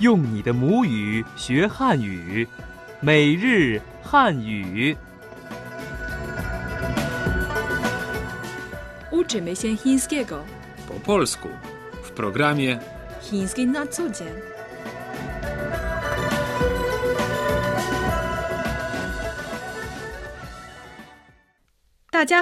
用你的母语学汉语，每日汉语。 Uczymy się chińskiego. po polsku w programie Chiński na co dzień.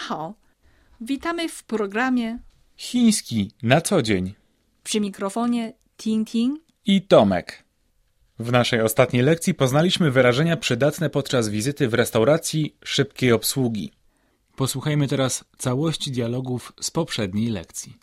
Hao. Witamy w programie Chiński na co dzień przy mikrofonie Ting Ting. i Tomek. W naszej ostatniej lekcji poznaliśmy wyrażenia przydatne podczas wizyty w restauracji szybkiej obsługi. Posłuchajmy teraz całości dialogów z poprzedniej lekcji.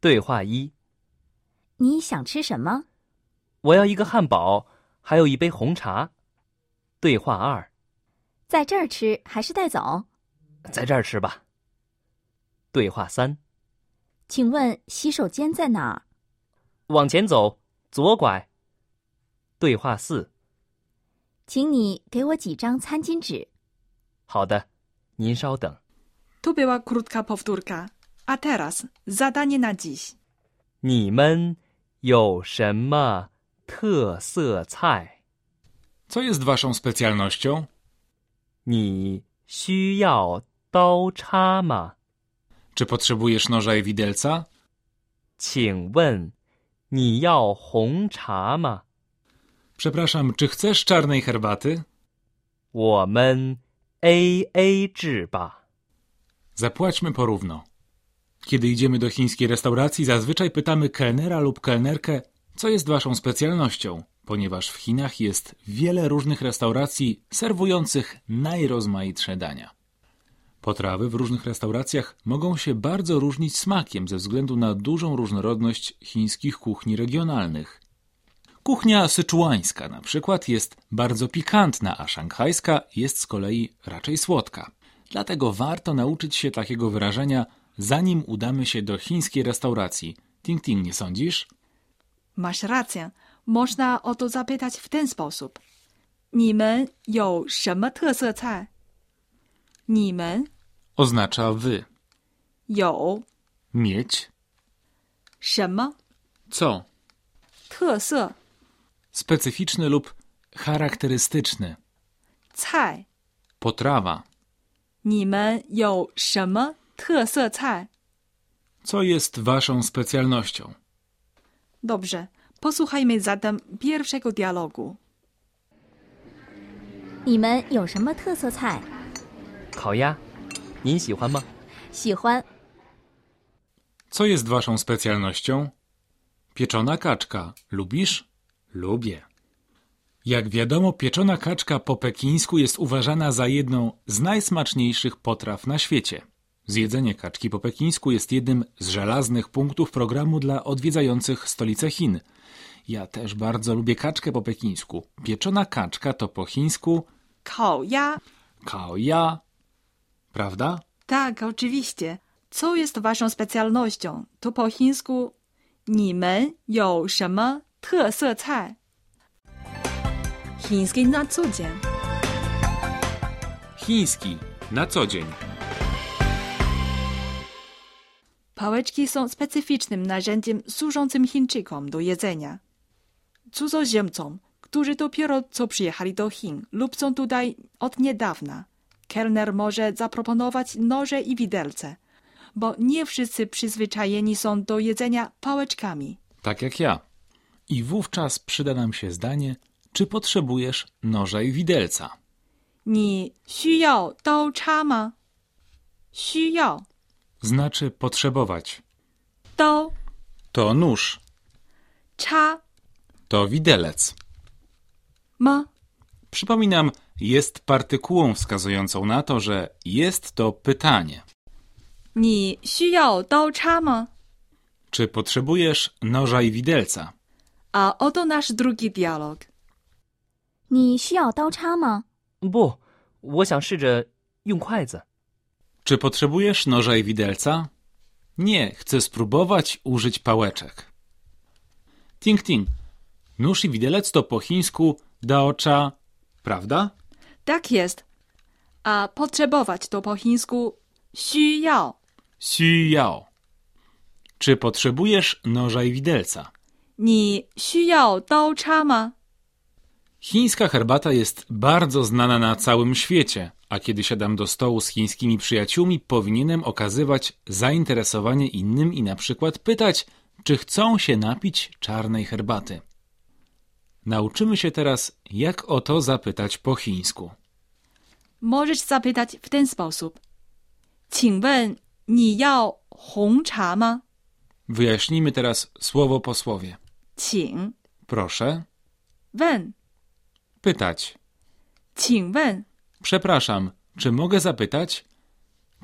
对话一：你想吃什么？我要一个汉堡，还有一杯红茶。对话二：在这儿吃还是带走？在这儿吃吧。对话三：请问洗手间在哪儿？往前走，左拐。对话四：请你给我几张餐巾纸。好的，您稍等。 To była krótka powtórka. A teraz zadanie na dziś. 你们有什么特色菜？ Co jest waszą specjalnością? 你需要刀叉吗？ Czy potrzebujesz noża i widelca? 请问你要红茶吗？ Przepraszam, czy chcesz czarnej herbaty? 我们 A A 制吧。 Zapłaćmy porówno. Kiedy idziemy do chińskiej restauracji, zazwyczaj pytamy kelnera lub kelnerkę, co jest waszą specjalnością, ponieważ w Chinach jest wiele różnych restauracji serwujących najrozmaitsze dania. Potrawy w różnych restauracjach mogą się bardzo różnić smakiem ze względu na dużą różnorodność chińskich kuchni regionalnych. Kuchnia syczuańska na przykład jest bardzo pikantna, a szanghajska jest z kolei raczej słodka. Dlatego warto nauczyć się takiego wyrażenia, zanim udamy się do chińskiej restauracji. Ting ting, nie sądzisz? Masz rację. Można o to zapytać w ten sposób. 你们有什么特色菜？你们有 Oznacza wy. Mieć. 什么 Co? 特色 Specyficzny lub charakterystyczny. 菜？ Potrawa. 你们有什么特色菜 Co jest waszą specjalnością? ？Dobrze, posłuchajmy zatem pierwszego dialogu. 你们有什么特色菜？烤鸭，您喜欢吗？喜欢 Co jest waszą specjalnością? Pieczona kaczka. Lubisz? Lubię. Jak wiadomo, pieczona kaczka po pekińsku jest uważana za jedną z najsmaczniejszych potraw na świecie. Zjedzenie kaczki po pekińsku jest jednym z żelaznych punktów programu dla odwiedzających stolicę Chin. Ja też bardzo lubię kaczkę po pekińsku. Pieczona kaczka to po chińsku 烤鸭 kao ja. Prawda? Tak, oczywiście. Co jest waszą specjalnością? To po chińsku 你们有什么特色菜 Chiński na co dzień. Chiński. Na co dzień. Pałeczki są specyficznym narzędziem służącym Chińczykom do jedzenia. Cudzoziemcom, którzy dopiero co przyjechali do Chin lub są tutaj od niedawna, kelner może zaproponować noże i widelce, bo nie wszyscy przyzwyczajeni są do jedzenia pałeczkami. tak jak ja. I wówczas przyda nam się zdanie, czy potrzebujesz noża i widelca. 你需要刀叉吗？需要 Znaczy potrzebować. 刀 To nóż, 叉 to widelec. 吗？ Przypominam, jest partykułą wskazującą na to, że jest to pytanie. 你需要刀叉吗 Czy potrzebujesz noża i widelca? ？A oto nasz drugi dialog. 你需要刀叉吗？不，我想试着用筷子。 Czy potrzebujesz noża i widelca? Nie, chcę spróbować użyć pałeczek. Ting ting. Nóż i widelec to po chińsku daocza, prawda? Tak jest. A potrzebować to po chińsku 需要需要. Czy potrzebujesz noża i widelca? 你需要刀叉吗？ Chińska herbata jest bardzo znana na całym świecie, a kiedy siadam do stołu z chińskimi przyjaciółmi, powinienem okazywać zainteresowanie innym i na przykład pytać, czy chcą się napić czarnej herbaty. Nauczymy się teraz, jak o to zapytać po chińsku. Możesz zapytać w ten sposób. 请问你要红茶吗？ Wyjaśnijmy teraz słowo po słowie. 请 Proszę, 问， pytać. 请问 Przepraszam, czy mogę zapytać?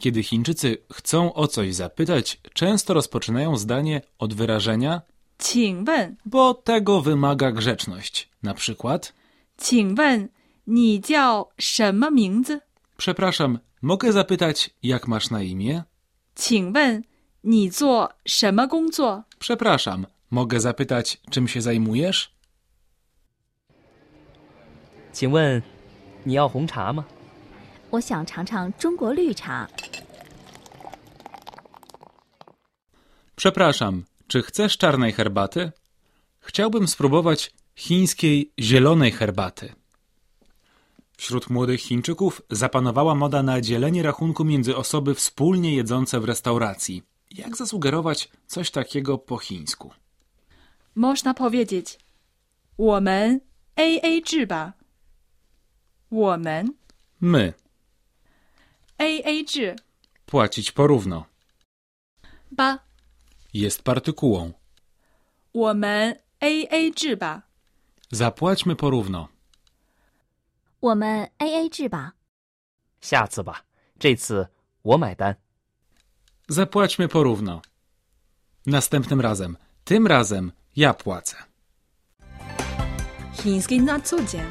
Kiedy Chińczycy chcą o coś zapytać, często rozpoczynają zdanie od wyrażenia 请问， bo tego wymaga grzeczność. Na przykład, 请问你叫什么名字？ przepraszam, mogę zapytać, jak masz na imię? 请问你做什么工作？ Przepraszam, mogę zapytać, czym się zajmujesz? 请问你要红茶吗？我想尝尝中国绿茶。 Przepraszam, czy chcesz czarnej herbaty? Chciałbym spróbować chińskiej zielonej herbaty. Wśród młodych Chińczyków zapanowała moda na dzielenie rachunku między osoby wspólnie jedzące w restauracji. Jak zasugerować coś takiego po chińsku? Można powiedzieć, 我们 A A 制吧。我们 My A A 制 płacić porówno. 吧， jest partykułą. 我们 A A 制吧。 Zapłaćmy porówno. 我们 A A 制吧。下次吧，这次我买单。 Zapłaćmy porówno. Następnym razem. Tym razem ja płacę. Chiński na co dzień.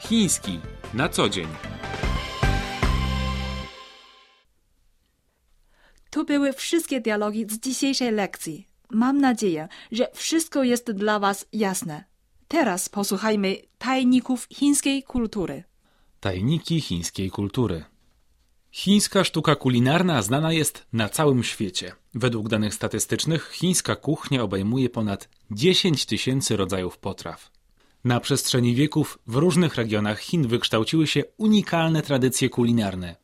Chiński na co dzień. To były wszystkie dialogi z dzisiejszej lekcji. Mam nadzieję, że wszystko jest dla Was jasne. Teraz posłuchajmy tajników chińskiej kultury. Tajniki chińskiej kultury. Chińska sztuka kulinarna znana jest na całym świecie. Według danych statystycznych chińska kuchnia obejmuje ponad 10 tysięcy rodzajów potraw. Na przestrzeni wieków w różnych regionach Chin wykształciły się unikalne tradycje kulinarne,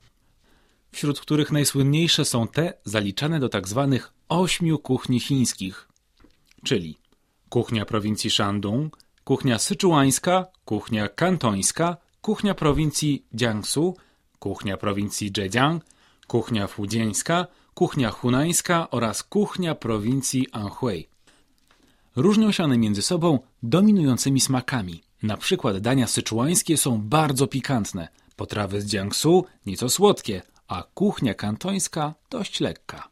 wśród których najsłynniejsze są te zaliczane do tzw. ośmiu kuchni chińskich, czyli kuchnia prowincji Shandong, kuchnia syczuańska, kuchnia kantońska, kuchnia prowincji Jiangsu, kuchnia prowincji Zhejiang, kuchnia fudzieńska, kuchnia hunańska oraz kuchnia prowincji Anhui. Różnią się one między sobą dominującymi smakami. Na przykład dania syczuańskie są bardzo pikantne, potrawy z Jiangsu nieco słodkie, a kuchnia kantońska dość lekka.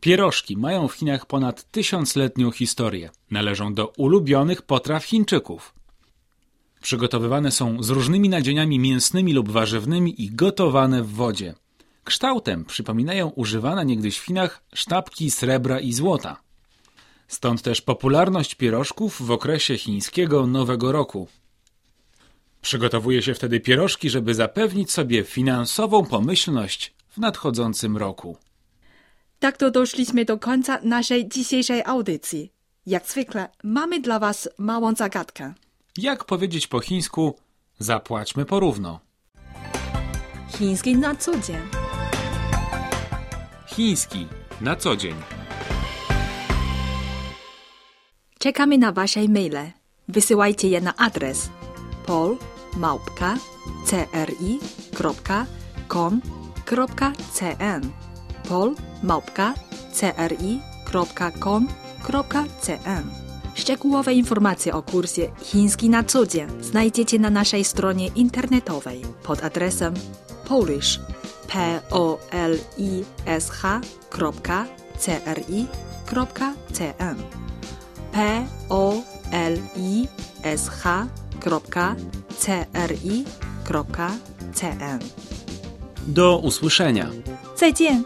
Pierożki mają w Chinach ponad tysiącletnią historię. Należą do ulubionych potraw Chińczyków. Przygotowywane są z różnymi nadzieniami mięsnymi lub warzywnymi i gotowane w wodzie. Kształtem przypominają używane niegdyś w Chinach sztabki srebra i złota. Stąd też popularność pierożków w okresie chińskiego Nowego Roku. Przygotowuje się wtedy pierożki, żeby zapewnić sobie finansową pomyślność w nadchodzącym roku. Tak to doszliśmy do końca naszej dzisiejszej audycji. Jak zwykle mamy dla Was małą zagadkę. Jak powiedzieć po chińsku zapłaćmy porówno? Chiński na co dzień. Chiński na co dzień. Czekamy na Wasze maile. Wysyłajcie je na adres polmałpka.cri.com.cn polmałpka.cri.com.cn Szczegółowe informacje o kursie Chiński na co dzień znajdziecie na naszej stronie internetowej pod adresem polish polish.cri.cn p o l i s h c r i c n Do usłyszenia. 再见。